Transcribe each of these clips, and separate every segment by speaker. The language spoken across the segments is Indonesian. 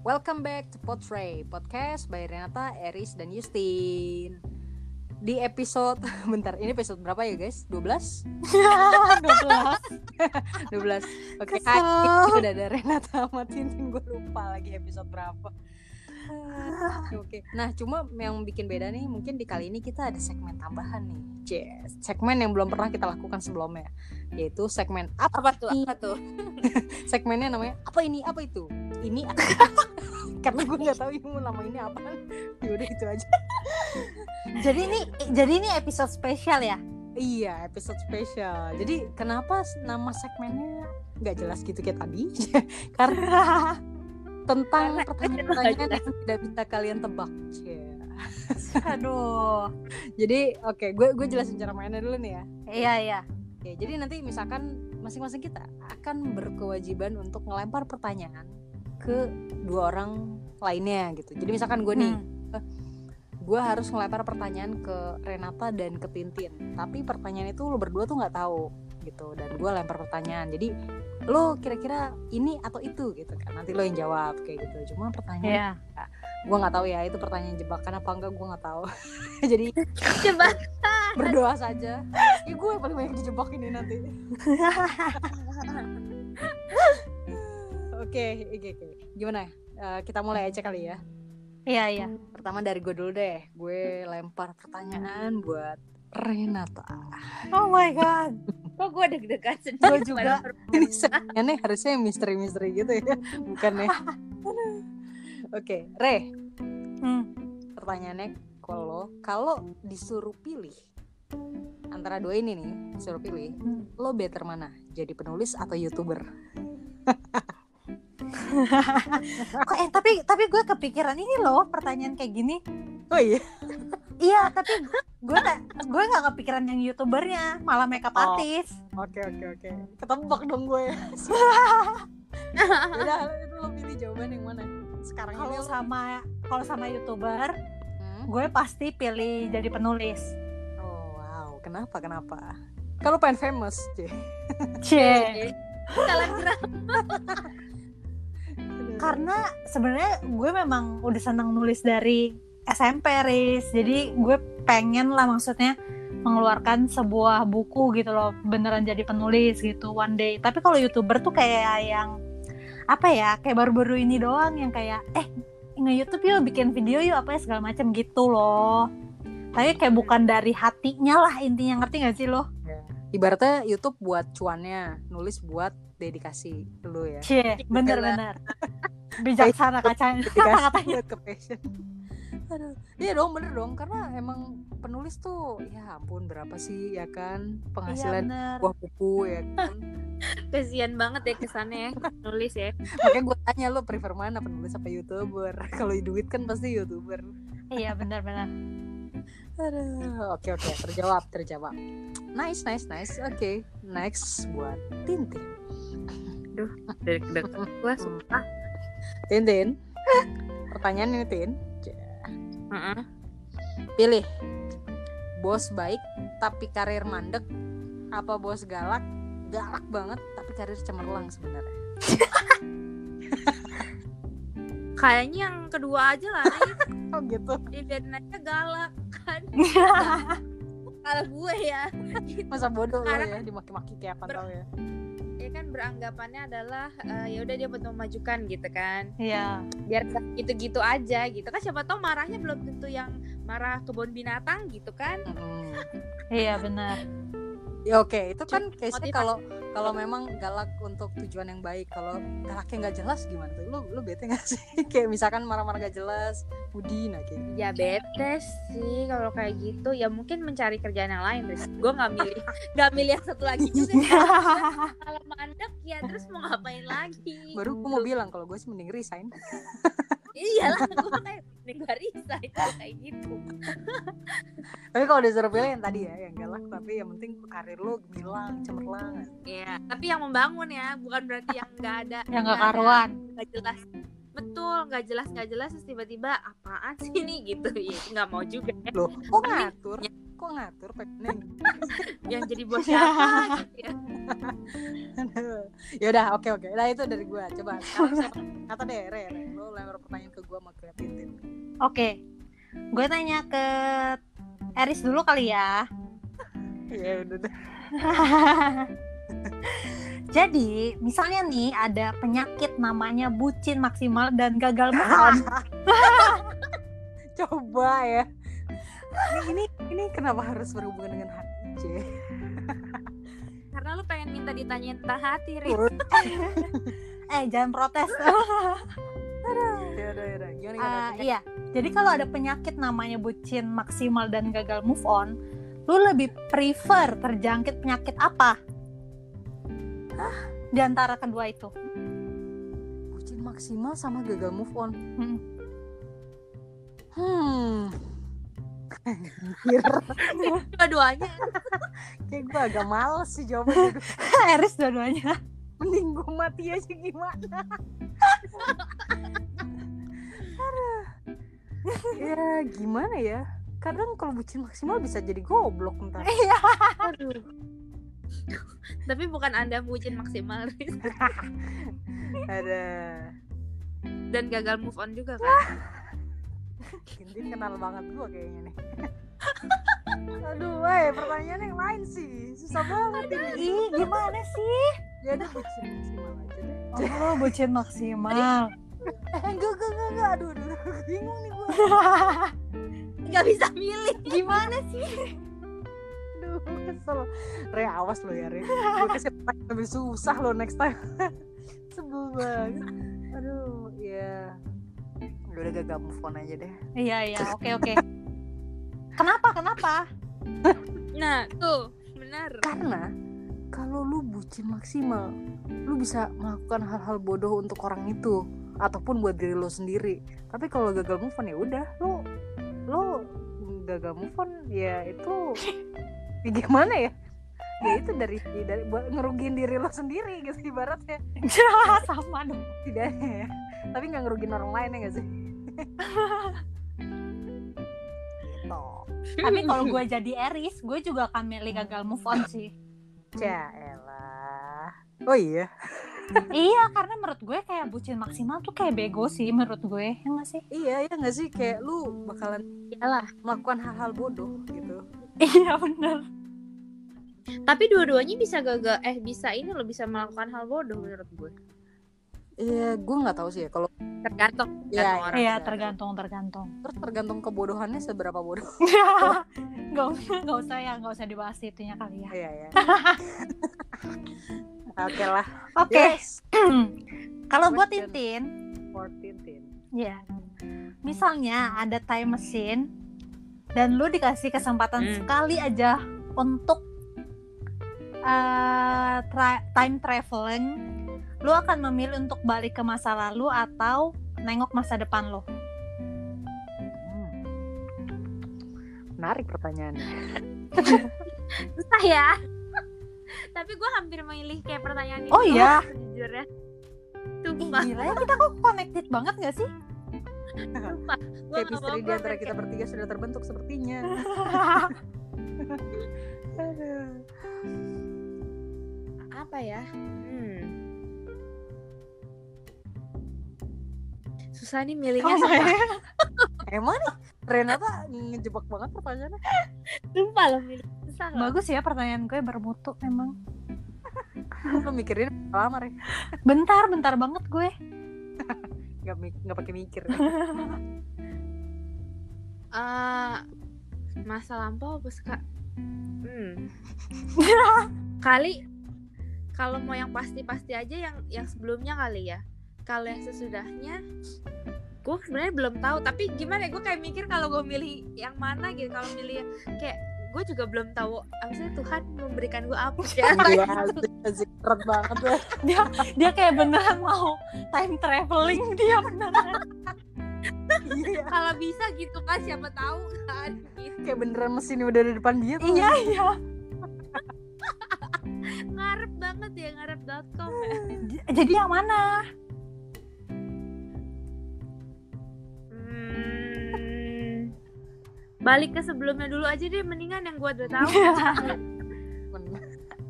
Speaker 1: Welcome back to Portray Podcast by Renata, Eris, dan Justin Di episode, bentar ini episode berapa ya guys? 12?
Speaker 2: 12
Speaker 1: 12 Oke,
Speaker 2: Kesel.
Speaker 1: hai, udah ada Renata sama Tintin, gue lupa lagi episode berapa Ah, Oke, nah cuma yang bikin beda nih mungkin di kali ini kita ada segmen tambahan nih Yes, segmen yang belum pernah kita lakukan sebelumnya Yaitu segmen apa
Speaker 2: apa tuh apa tuh
Speaker 1: segmennya namanya apa ini apa itu ini apa? karena gue nggak tahu ilmu lama ini apa yaudah itu aja
Speaker 2: jadi ini jadi ini episode spesial ya
Speaker 1: iya episode spesial jadi kenapa s- nama segmennya nggak jelas gitu kayak tadi karena tentang
Speaker 2: Karena-
Speaker 1: pertanyaan-pertanyaan yang tidak bisa kalian tebak Cie.
Speaker 2: aduh
Speaker 1: jadi oke gue gue jelasin cara mainnya dulu nih ya
Speaker 2: iya iya
Speaker 1: Oke, jadi nanti misalkan masing-masing kita akan berkewajiban untuk ngelempar pertanyaan ke dua orang lainnya gitu. Jadi misalkan gue nih,
Speaker 2: Hmm.
Speaker 1: gue harus ngelempar pertanyaan ke Renata dan ke Tintin. Tapi pertanyaan itu lo berdua tuh nggak tahu gitu. Dan gue lempar pertanyaan. Jadi lo kira-kira ini atau itu gitu kan? Nanti lo yang jawab kayak gitu. Cuma pertanyaan
Speaker 2: iya
Speaker 1: gue nggak tahu ya itu pertanyaan jebakan apa enggak gue nggak tahu. jadi
Speaker 2: coba
Speaker 1: berdoa saja. Ya gue yang paling banyak dijebak ini nanti. Oke, oke, oke. Gimana? Eh, kita mulai aja kali ya.
Speaker 2: iya iya
Speaker 1: Pertama dari gue dulu deh. Gue lempar pertanyaan buat Renata.
Speaker 2: oh my god kok gue deg-degan sendiri
Speaker 1: Gua juga. Ini segmennya harusnya yang misteri-misteri gitu ya, bukan ya? Oke, Re,
Speaker 2: Hmm.
Speaker 1: pertanyaannya kalau kalau disuruh pilih antara dua ini nih, disuruh pilih, lo better mana? Jadi penulis atau youtuber?
Speaker 2: Kok- eh tapi tapi gue kepikiran ini loh pertanyaan kayak gini
Speaker 1: Oh iya.
Speaker 2: iya tapi gue nggak gue nggak kepikiran yang youtubernya malah makeup
Speaker 1: Oh.
Speaker 2: artist
Speaker 1: Oke oke oke. Ketebak dong gue. Udah itu lo pilih jawaban yang mana? Sekarang ini
Speaker 2: kalau
Speaker 1: lo-
Speaker 2: sama kalau sama youtuber
Speaker 1: Hmm?
Speaker 2: gue pasti pilih jadi penulis
Speaker 1: Oh wow, kenapa kenapa? Kalau pengen famous, Cie.
Speaker 2: Cie.
Speaker 3: salah gerak
Speaker 2: karena sebenarnya gue memang udah seneng nulis dari SMP Riz jadi gue pengen lah maksudnya mengeluarkan sebuah buku gitu loh beneran jadi penulis gitu one day tapi kalau youtuber tuh kayak yang apa ya kayak baru-baru ini doang yang kayak eh nge YouTube yuk bikin video yuk apa ya segala macam gitu loh tapi kayak bukan dari hatinya lah intinya ngerti gak sih lo?
Speaker 1: Ibaratnya YouTube buat cuannya, nulis buat dedikasi lo ya.
Speaker 2: Cie, bener-bener bijaksana kacanya Iya,
Speaker 1: Dedikasi buat ke passion. Aduh, iya dong bener dong karena emang penulis tuh ya ampun berapa sih ya kan
Speaker 2: Iya
Speaker 1: penghasilan
Speaker 2: bener.
Speaker 1: buah buku ya kan
Speaker 3: kasihan banget deh kesannya ya nulis ya
Speaker 1: makanya gue tanya lo prefer mana penulis apa youtuber kalau duit kan pasti youtuber
Speaker 2: Iya benar-benar.
Speaker 1: Aduh, oke oke terjawab terjawab. Nice nice nice. Oke next buat Tintin.
Speaker 3: dari deg gue sumpah
Speaker 1: Tintin. Pertanyaan ini Tin.
Speaker 3: Heeh.
Speaker 1: Pilih bos baik tapi karir mandek apa bos galak galak banget tapi karir cemerlang sebenarnya.
Speaker 3: kayaknya yang kedua aja lah Ri.
Speaker 1: Oh gitu.
Speaker 3: dibiarin aja galak kan kalau gue ya
Speaker 1: Masa bodoh lo
Speaker 3: Sekarang-
Speaker 1: ya dimaki-maki kayak apa
Speaker 3: Ber-
Speaker 1: tau ya.
Speaker 3: ya kan beranggapannya adalah eh, ya udah dia buat memajukan gitu kan
Speaker 2: Iya.
Speaker 3: biar nggak gitu-gitu aja gitu kan siapa tahu marahnya belum tentu yang marah kebun binatang gitu kan
Speaker 1: Mm-mm.
Speaker 2: Iya benar.
Speaker 1: Ya oke, itu kan case-nya
Speaker 3: motivasi.
Speaker 1: kalau kalau memang galak untuk tujuan yang baik. Kalau galaknya nggak jelas gimana tuh? Lu lu bete nggak sih? kayak misalkan marah-marah nggak jelas, Budi nah kayak gitu.
Speaker 3: ya bete sih kalau kayak gitu ya mungkin mencari kerjaan yang lain terus gue nggak milih nggak milih yang satu lagi juga kalau mandek ya terus mau ngapain lagi
Speaker 1: Baru gue mau bilang kalau gue sih mending resign.
Speaker 3: iyalah gue kayak mending gue resign kayak gitu
Speaker 1: tapi kalau disuruh pilih yang tadi ya, yang galak tapi yang penting karir lu gemilang, cemerlang.
Speaker 3: ya tapi yang membangun ya bukan berarti yang nggak ada
Speaker 2: Yang
Speaker 3: nggak
Speaker 2: gak
Speaker 3: ada,
Speaker 2: karuan.
Speaker 3: nggak jelas betul nggak jelas nggak jelas terus tiba-tiba apaan sih ini gitu ya nggak Iya, mau juga ya
Speaker 1: Loh, kok ngatur? kok ngatur pengen
Speaker 3: yang jadi bos siapa gitu ya.
Speaker 1: ya udah oke oke nah itu dari gue coba sekarang siapa? kata E, deh Re, Re. lo lempar pertanyaan ke gue sama kreatif
Speaker 2: nah. Oke, gue tanya ke Eris dulu kali ya.
Speaker 1: ya udah deh.
Speaker 2: Jadi, misalnya nih ada penyakit namanya bucin maksimal dan gagal move on.
Speaker 1: coba ya ini, ini ini kenapa harus berhubungan dengan hati C
Speaker 3: karena lu pengen minta ditanyain tentang hati Ri
Speaker 2: eh, jangan protes.
Speaker 1: ya udah ya udah gimana gimana
Speaker 2: Eh, iya. Jadi kalau ada penyakit namanya bucin maksimal dan gagal move on, lu lebih prefer terjangkit penyakit apa? Di antara kedua itu.
Speaker 1: bucin maksimal sama gagal move on
Speaker 2: Mm.
Speaker 1: hmm
Speaker 3: dua-duanya
Speaker 1: kayak gue agak males sih jawabannya Aduh,
Speaker 2: Eris dua-duanya.
Speaker 1: mending gue mati aja gimana Aduh. ya gimana ya kadang kalau bucin maksimal bisa jadi goblok ntar
Speaker 2: Iya.
Speaker 1: aduh
Speaker 3: tapi bukan anda bucin maksimal Ri.
Speaker 1: ada
Speaker 3: dan gagal move on juga kan
Speaker 1: Gintin kenal banget gue kayaknya nih aduh weh pertanyaan yang lain sih susah banget ini
Speaker 2: Ih, gimana sih?
Speaker 1: ya udah bucin maksimal aja deh
Speaker 2: Oh, bucin maksimal.
Speaker 1: eh enggak enggak enggak, enggak aduh aduh, aduh bingung nih gue
Speaker 3: nggak bisa milih
Speaker 2: Gimana sih?
Speaker 1: Aduh, kesel. Re, awas lo ya, Re. Gue kasih pertanyaan lebih susah lo next time. Sebel banget. Aduh, ya. Udah, udah gagal move on aja deh.
Speaker 2: Iya, iya. Oke, oke. Kenapa? Kenapa?
Speaker 3: nah tuh benar
Speaker 1: Karena kalau lu bucin maksimal, lu bisa melakukan hal-hal bodoh untuk orang itu ataupun buat diri lo sendiri. Tapi kalau gagal move on ya udah, lu lu gagal move on ya itu ya gimana ya? Ya itu dari dari buat ngerugiin diri lo sendiri gitu ibaratnya.
Speaker 2: sama dong.
Speaker 1: tidak ya tapi nggak ngerugin orang lain ya nggak sih gitu
Speaker 2: Tapi kalau gue jadi Eris, gue juga akan milih gagal move on sih.
Speaker 1: Jaelah Ya oh iya
Speaker 2: iya, karena menurut gue kayak bucin maksimal tuh kayak bego sih menurut gue. Ya nggak sih?
Speaker 1: iya ya nggak sih kayak lu bakalan
Speaker 3: iyalah
Speaker 1: melakukan hal-hal bodoh gitu
Speaker 2: Iya, bener.
Speaker 3: tapi dua-duanya bisa gagal eh bisa ini lo bisa melakukan hal bodoh menurut gue
Speaker 1: iya gue nggak tahu sih ya kalau
Speaker 3: tergantung
Speaker 1: Iya,
Speaker 3: tergantung
Speaker 1: iya.
Speaker 3: orang
Speaker 2: Iya, tergantung, tergantung.
Speaker 1: terus tergantung kebodohannya seberapa bodoh
Speaker 2: Gak usah, gak usah ya, gak usah dibahas itunya kali ya.
Speaker 1: iya ya oke lah
Speaker 2: Oke.
Speaker 1: yes
Speaker 2: kalau buat
Speaker 1: Question.
Speaker 2: Tintin,
Speaker 1: 14 tin
Speaker 2: Ya. Misalnya ada time machine dan lu dikasih kesempatan
Speaker 3: Hmm.
Speaker 2: sekali aja untuk eh, tra- time traveling, lu akan memilih untuk balik ke masa lalu atau nengok masa depan lo.
Speaker 1: Hmm. menarik pertanyaannya
Speaker 3: susah ya tapi gue hampir milih kayak pertanyaan ini
Speaker 2: Oh, iya?
Speaker 3: jujur ya
Speaker 2: Ih,
Speaker 3: sumpah
Speaker 2: gila ya kita kok connected banget gak sih?
Speaker 3: sumpah gue nggak
Speaker 1: chemistry di
Speaker 3: apa-apa,
Speaker 1: antara
Speaker 3: kayak-
Speaker 1: kita bertiga sudah terbentuk sepertinya Aduh.
Speaker 3: apa ya hmm. susah nih milihnya
Speaker 2: Oh
Speaker 3: sumpah.
Speaker 1: Emang nih Renata ngejebak banget pertanyaannya.
Speaker 3: sumpah loh milih susah loh
Speaker 2: Bagus ya pertanyaan gue bermutu memang.
Speaker 1: Lu mikirin lama Re.
Speaker 2: Bentar, bentar banget gue.
Speaker 1: Gak, mik- gak pakai mikir.
Speaker 3: Eh, masa lampau apa seka- hmm. kali kalau mau yang pasti-pasti aja yang yang sebelumnya kali ya kalau yang sesudahnya gue sebenarnya belum tahu tapi gimana ya gue kayak mikir kalau gue milih yang mana gitu kalau milih kayak gue juga belum tahu apa sih Tuhan memberikan gue apa ya? di antara
Speaker 1: Gila, asik berat banget ya. deh.
Speaker 2: Dia kayak beneran mau time traveling dia beneran.
Speaker 1: Iya.
Speaker 3: kalau bisa gitu kan siapa tahu kan gitu.
Speaker 1: Kayak beneran mesin udah di depan dia tuh.
Speaker 2: iya, iya.
Speaker 3: ngarep banget ya ngarep.com ya
Speaker 2: J- Jadi yang mana?
Speaker 3: Hmm, balik ke sebelumnya dulu aja deh mendingan yang gua udah tahu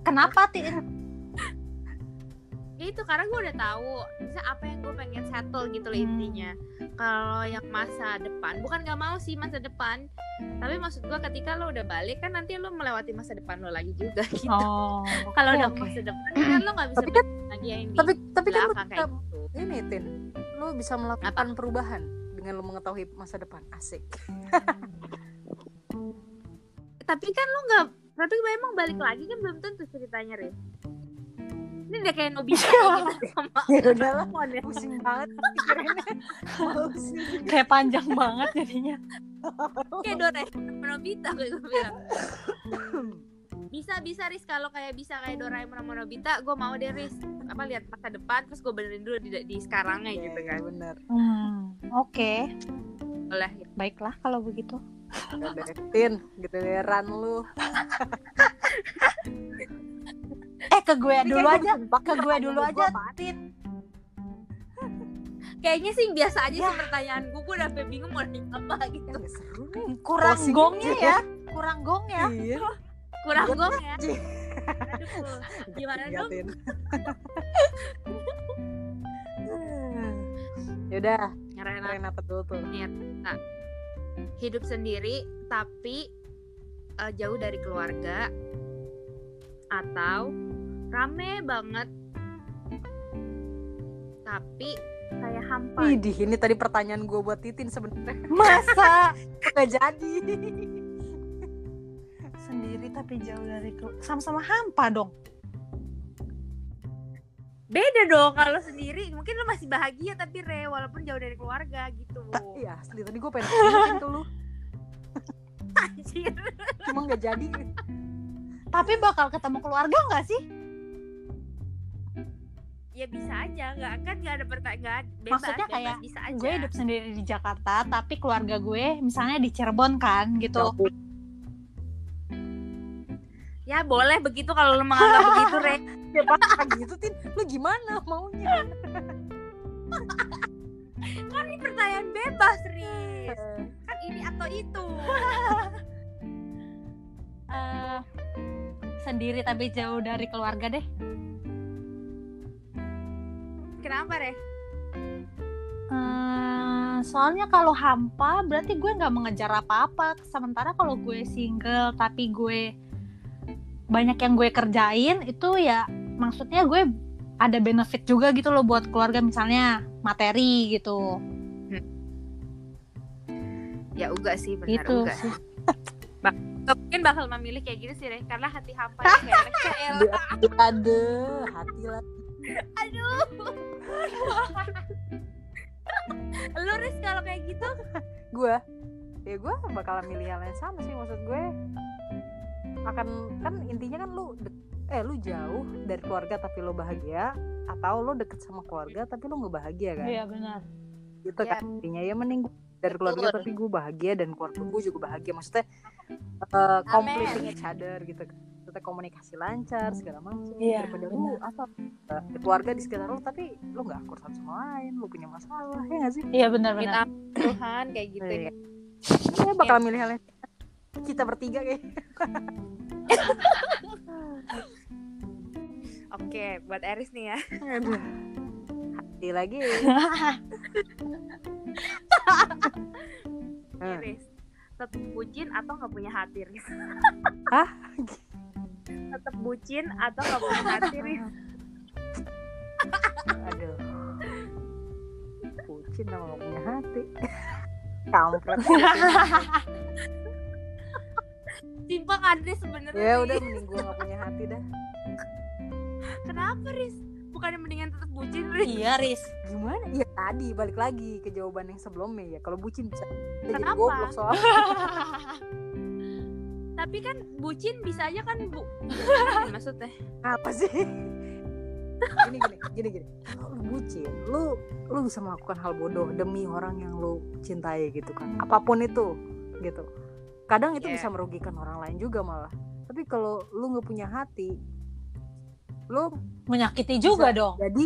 Speaker 2: Kenapa Tin?
Speaker 3: Ya itu karena gua udah tahu bisa apa yang gua pengen settle gitu loh
Speaker 2: Hmm.
Speaker 3: intinya kalau yang masa depan bukan nggak mau sih masa depan tapi maksud gua ketika lo udah balik kan nanti lo melewati masa depan lo lagi juga gitu
Speaker 2: Oh.
Speaker 3: kalau
Speaker 2: oke,
Speaker 3: udah
Speaker 2: oke.
Speaker 3: masa depan kan lo nggak bisa
Speaker 1: Tapi kan-
Speaker 3: balik lagi yang di
Speaker 1: tapi tapi kan lu
Speaker 3: belakang kayak
Speaker 1: tetap-
Speaker 3: gitu
Speaker 1: ini Tin lu bisa melakukan perubahan dengan lu mengetahui masa depan asik
Speaker 3: tapi kan lo nggak tapi emang balik lagi kan belum tentu ceritanya Rif ini udah kayak nobita gitu sama
Speaker 1: ya udahlah
Speaker 3: Mon ya.
Speaker 1: pusing banget pikirannya Males.
Speaker 2: Kan Kayak panjang banget jadinya.
Speaker 3: kayak Doraemon sama Nobita kayak gue bilang bisa bisa Riz kalau kayak bisa kayak Doraemon sama Nobita gue mau deh Riz apa lihat masa depan terus gue benerin dulu di, di sekarangnya
Speaker 1: Iya,
Speaker 3: gitu kan
Speaker 1: bener
Speaker 2: Hmm, Oke,
Speaker 3: oleh
Speaker 2: baiklah kalau begitu.
Speaker 1: Udah, Tin giliran lu
Speaker 2: Eh ke gue
Speaker 1: Ini
Speaker 2: dulu
Speaker 1: kayak
Speaker 2: aja.
Speaker 1: gua-
Speaker 2: Ke gue dulu
Speaker 1: Gua
Speaker 2: aja,
Speaker 1: apaan?
Speaker 2: Tin.
Speaker 3: kayaknya sih biasa aja sih pertanyaan gue gue udah sampai bingung mau nanya apa gitu
Speaker 1: Nggak Ya, seru nih
Speaker 2: Hmm, Kurang
Speaker 1: Closing
Speaker 2: gongnya
Speaker 1: aja.
Speaker 2: ya. Kurang gong ya.
Speaker 1: iya
Speaker 3: kurang gong ya
Speaker 1: Ji.
Speaker 3: Aduh, gimana
Speaker 1: Iya,
Speaker 3: dong
Speaker 1: Tin. Yaudah,
Speaker 3: Karena
Speaker 1: Renata dulu tuh.
Speaker 3: Iya. Nah, hidup sendiri tapi eh, jauh dari keluarga atau rame banget tapi kayak hampa
Speaker 1: Idih, ini tadi pertanyaan gue buat Titin sebenarnya
Speaker 2: Masa
Speaker 1: nggak jadi.
Speaker 2: Eh, sendiri tapi jauh dari kelu- sama-sama hampa dong.
Speaker 3: beda dong kalau sendiri mungkin lu masih bahagia tapi re walaupun jauh dari keluarga gitu
Speaker 1: Iya, asli tadi gue pengen nanya ke lu,
Speaker 3: Anjir.
Speaker 1: cuma nggak jadi.
Speaker 2: Tapi bakal ketemu keluarga nggak sih?
Speaker 3: ya bisa aja nggak kan nggak ada pertanyaan bebas,
Speaker 2: Maksudnya
Speaker 3: bebas,
Speaker 2: kayak
Speaker 3: bisa aja
Speaker 2: Kan Gue hidup sendiri di Jakarta, tapi keluarga gue misalnya di Cirebon kan gitu.
Speaker 3: ya boleh begitu kalau lu menganggap begitu re
Speaker 1: Ah, gitu Tin, lu gimana maunya?
Speaker 3: kan ini pertanyaan bebas re kan ini atau itu
Speaker 2: Eh, sendiri tapi jauh dari keluarga deh.
Speaker 3: kenapa re
Speaker 2: Hmm, soalnya kalau hampa berarti gue nggak mengejar apa-apa. Sementara kalau gue single tapi gue banyak yang gue kerjain itu ya maksudnya gue ada benefit juga gitu loh buat keluarga misalnya materi gitu.
Speaker 3: ya uga sih benar
Speaker 2: gitu.
Speaker 3: uga mungkin bakal memilih kayak gini sih Re karena hati hampa ya, kayak Re. Ya elah.
Speaker 1: Ada hati lagi.
Speaker 3: aduh lu Riz kalau kayak gitu
Speaker 1: Gue, ya gue bakalan milih hal yang sama sih maksud gue. Akan kan intinya kan lu de- eh lu jauh dari keluarga tapi lu bahagia atau lu deket sama keluarga tapi lu nggak bahagia kan?
Speaker 2: Iya benar.
Speaker 1: gitu
Speaker 3: Iya.
Speaker 1: kan intinya ya mending gua dari keluarga
Speaker 3: Betul.
Speaker 1: tapi gue bahagia dan keluarga gue juga bahagia maksudnya eh completing each other gitu kan maksudnya komunikasi lancar segala macam
Speaker 2: Iya,
Speaker 1: daripada lu apa eh, keluarga di sekitar lu tapi lu nggak akur satu sama lain lu punya masalah ya nggak sih
Speaker 2: Iya benar benar.
Speaker 3: minta Tuhan kayak gitu ya.
Speaker 1: Kayaknya bakal
Speaker 3: Iya.
Speaker 1: milih hal yang- kita bertiga kayak
Speaker 3: oke buat Eris nih ya
Speaker 1: Aduh. hati "Iya lagi Hmm.
Speaker 3: Riz tetap bucin atau nggak punya hati Riz
Speaker 1: Hah?
Speaker 3: tetap bucin atau nggak punya hati Riz
Speaker 1: aduh kucing sama nggak punya hati kampret
Speaker 3: simpang Andre sebenarnya
Speaker 1: ya
Speaker 3: kan, Riz.
Speaker 1: udah mending gue nggak punya hati dah
Speaker 3: kenapa Riz bukannya mendingan tetap bucin Riz
Speaker 2: iya Riz.
Speaker 1: gimana ya tadi balik lagi ke jawaban yang sebelumnya ya kalau bucin bisa bisa jadi
Speaker 3: Kenapa?
Speaker 1: goblok soalnya
Speaker 3: tapi kan bucin bisa aja kan bu maksudnya
Speaker 1: apa sih gini gini gini gini kalau lu bucin lu lu bisa melakukan hal bodoh demi orang yang lu cintai gitu kan apapun itu gitu kadang itu
Speaker 3: Hmm. Iya.
Speaker 1: bisa merugikan orang lain juga malah tapi kalau lu nggak punya hati lu
Speaker 2: Menyakiti juga dong.
Speaker 1: jadi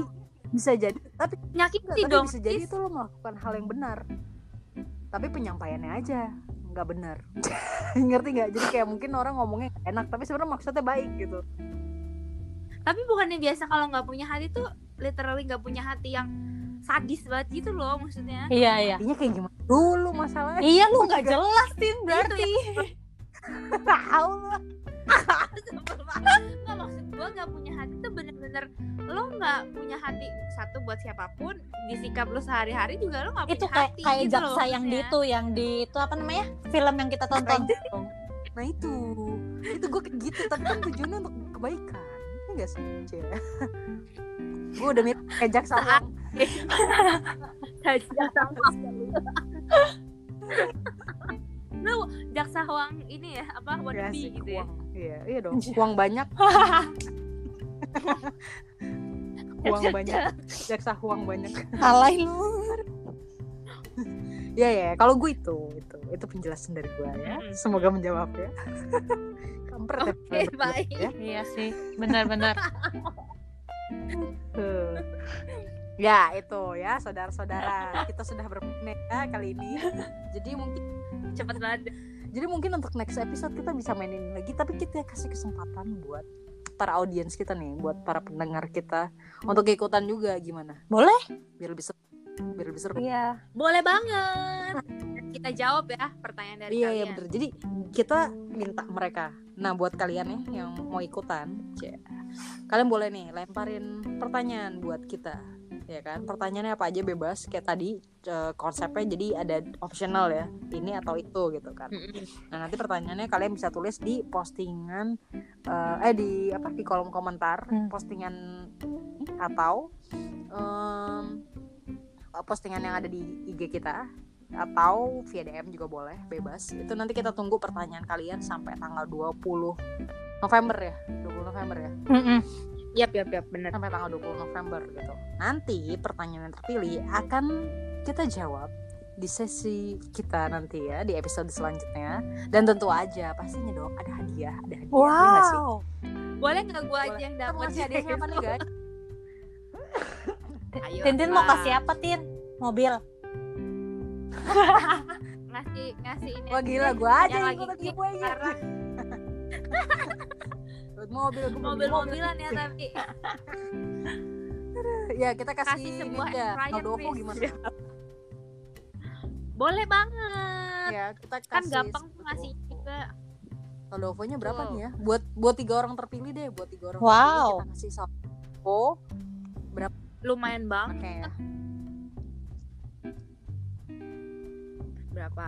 Speaker 1: bisa jadi tapi
Speaker 3: nyakiti
Speaker 1: tapi
Speaker 3: dong
Speaker 1: bisa jadi
Speaker 3: Riz.
Speaker 1: itu lu melakukan hal yang benar tapi penyampaiannya aja nggak benar ngerti nggak jadi kayak mungkin orang ngomongnya nggak enak tapi sebenarnya maksudnya baik gitu
Speaker 3: tapi bukannya biasa kalau nggak punya hati tuh literally nggak punya hati yang sadis banget gitu loh maksudnya
Speaker 2: iya iya
Speaker 1: artinya kayak gimana dulu masalahnya
Speaker 2: iya lu nggak jelas tin
Speaker 3: gitu,
Speaker 2: berarti
Speaker 3: ya.
Speaker 1: tahu lah
Speaker 3: Sebel banget. nggak maksud gue nggak punya hati tuh bener-bener lo nggak punya hati satu buat siapapun di sikap lo sehari-hari juga lo nggak punya
Speaker 2: itu kayak
Speaker 3: hati
Speaker 2: kayak
Speaker 3: gitu loh
Speaker 2: jaksa yang di
Speaker 3: maksudnya.
Speaker 2: itu yang di itu apa namanya film yang kita tonton
Speaker 1: nah itu itu gue kayak gitu tapi kan tujuannya untuk kebaikan enggak sih gue udah mirip kejak sama
Speaker 3: jaksa Wang. lu jaksa Wang ini ya apa wannabe gitu ya
Speaker 1: uang iya iya dong uang banyak uang banyak jaksa uang banyak
Speaker 2: alay lu
Speaker 1: ya ya kalau gue itu itu itu penjelasan dari gue ya
Speaker 3: Mm.
Speaker 1: semoga menjawab ya kampret ya,
Speaker 3: oke baik
Speaker 1: ya.
Speaker 2: iya sih benar-benar
Speaker 1: Tuh. ya itu ya saudara-saudara kita sudah berpeneka kali ini jadi mungkin
Speaker 3: cepet banget
Speaker 1: Jadi mungkin untuk next episode kita bisa mainin lagi, tapi kita kasih kesempatan buat para audiens kita nih, buat para pendengar kita untuk ikutan juga gimana?
Speaker 2: Boleh.
Speaker 1: Biar lebih seru. Biar lebih seru.
Speaker 2: iya
Speaker 3: boleh banget kita jawab ya pertanyaan dari
Speaker 1: Iya, iya
Speaker 3: kalian
Speaker 1: bener. Jadi kita minta mereka. Nah, buat kalian nih yang mau ikutan, ya, kalian boleh nih lemparin pertanyaan buat kita. Ya kan? Pertanyaannya apa aja bebas kayak tadi eh, konsepnya jadi ada optional ya. Ini atau itu gitu kan.
Speaker 3: Mm-mm.
Speaker 1: Nah nanti pertanyaannya kalian bisa tulis di postingan eh, eh di apa di kolom komentar
Speaker 2: Hmm.
Speaker 1: postingan ini atau em, eh, postingan yang ada di IG kita atau via DM juga boleh bebas. Itu nanti kita tunggu pertanyaan kalian sampai tanggal 20 November ya. 20 November ya.
Speaker 2: Mm-mm.
Speaker 3: yap yap yap bener
Speaker 1: Sampai tanggal 20 November gitu. Nanti pertanyaan yang terpilih akan kita jawab di sesi kita nanti ya di episode selanjutnya dan tentu aja pastinya dong ada hadiah ada hadiah iya nggak sih?
Speaker 2: wow
Speaker 3: boleh nggak gua aja
Speaker 1: Boleh.
Speaker 3: yang
Speaker 1: Kita mau
Speaker 3: dapat
Speaker 1: kasih hadiahnya apa nih guys
Speaker 3: Ayo,
Speaker 2: Tintin mau
Speaker 3: Ra.
Speaker 2: kasih ya? apa Tin mobil
Speaker 3: ngasih ngasih ini
Speaker 1: wah
Speaker 3: aja
Speaker 1: gila
Speaker 3: deh.
Speaker 1: gue aja
Speaker 3: Yang
Speaker 1: yang
Speaker 3: lagi
Speaker 1: ikut
Speaker 3: ini,
Speaker 1: ibu aja
Speaker 3: karena-
Speaker 1: Buat mobil gua beli
Speaker 3: mobil-mobilan ya tapi
Speaker 1: ya kita kasih,
Speaker 3: Kasih
Speaker 1: ini
Speaker 3: sebuah Iya.
Speaker 1: aja,
Speaker 3: Ryan
Speaker 1: Aldoko
Speaker 3: Reese.
Speaker 1: gimana
Speaker 3: boleh banget
Speaker 1: ya kita kasih
Speaker 3: kan gampang tuh ngasih juga
Speaker 1: Aldovonya berapa
Speaker 3: Betul.
Speaker 1: nih ya buat buat tiga orang terpilih deh buat tiga orang
Speaker 2: Wow.
Speaker 1: terpilih kita kasih Aldovo
Speaker 3: lumayan banget
Speaker 1: oke ya.
Speaker 3: berapa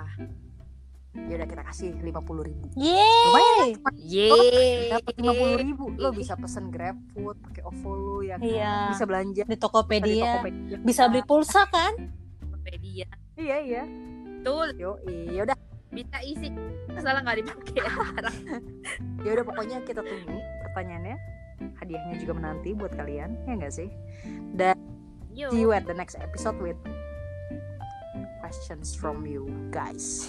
Speaker 1: Oh, ya udah kita kasih lima puluh ribu
Speaker 2: yeay
Speaker 3: Yeay.
Speaker 1: dapat lima puluh ribu lo bisa pesen GrabFood pakai OVO lo ya kan?
Speaker 2: Iya.
Speaker 1: bisa belanja
Speaker 2: di
Speaker 1: di
Speaker 2: Tokopedia
Speaker 1: Tokopedia
Speaker 2: bisa beli pulsa kan
Speaker 3: Tokopedia.
Speaker 1: iya iya
Speaker 3: Betul,
Speaker 1: yo iya udah
Speaker 3: bisa isi masalah nggak dipakai.
Speaker 1: ya udah pokoknya kita tunggu pertanyaannya hadiahnya juga menanti buat kalian ya enggak sih
Speaker 3: Yo.
Speaker 1: see you at the next episode with questions from you guys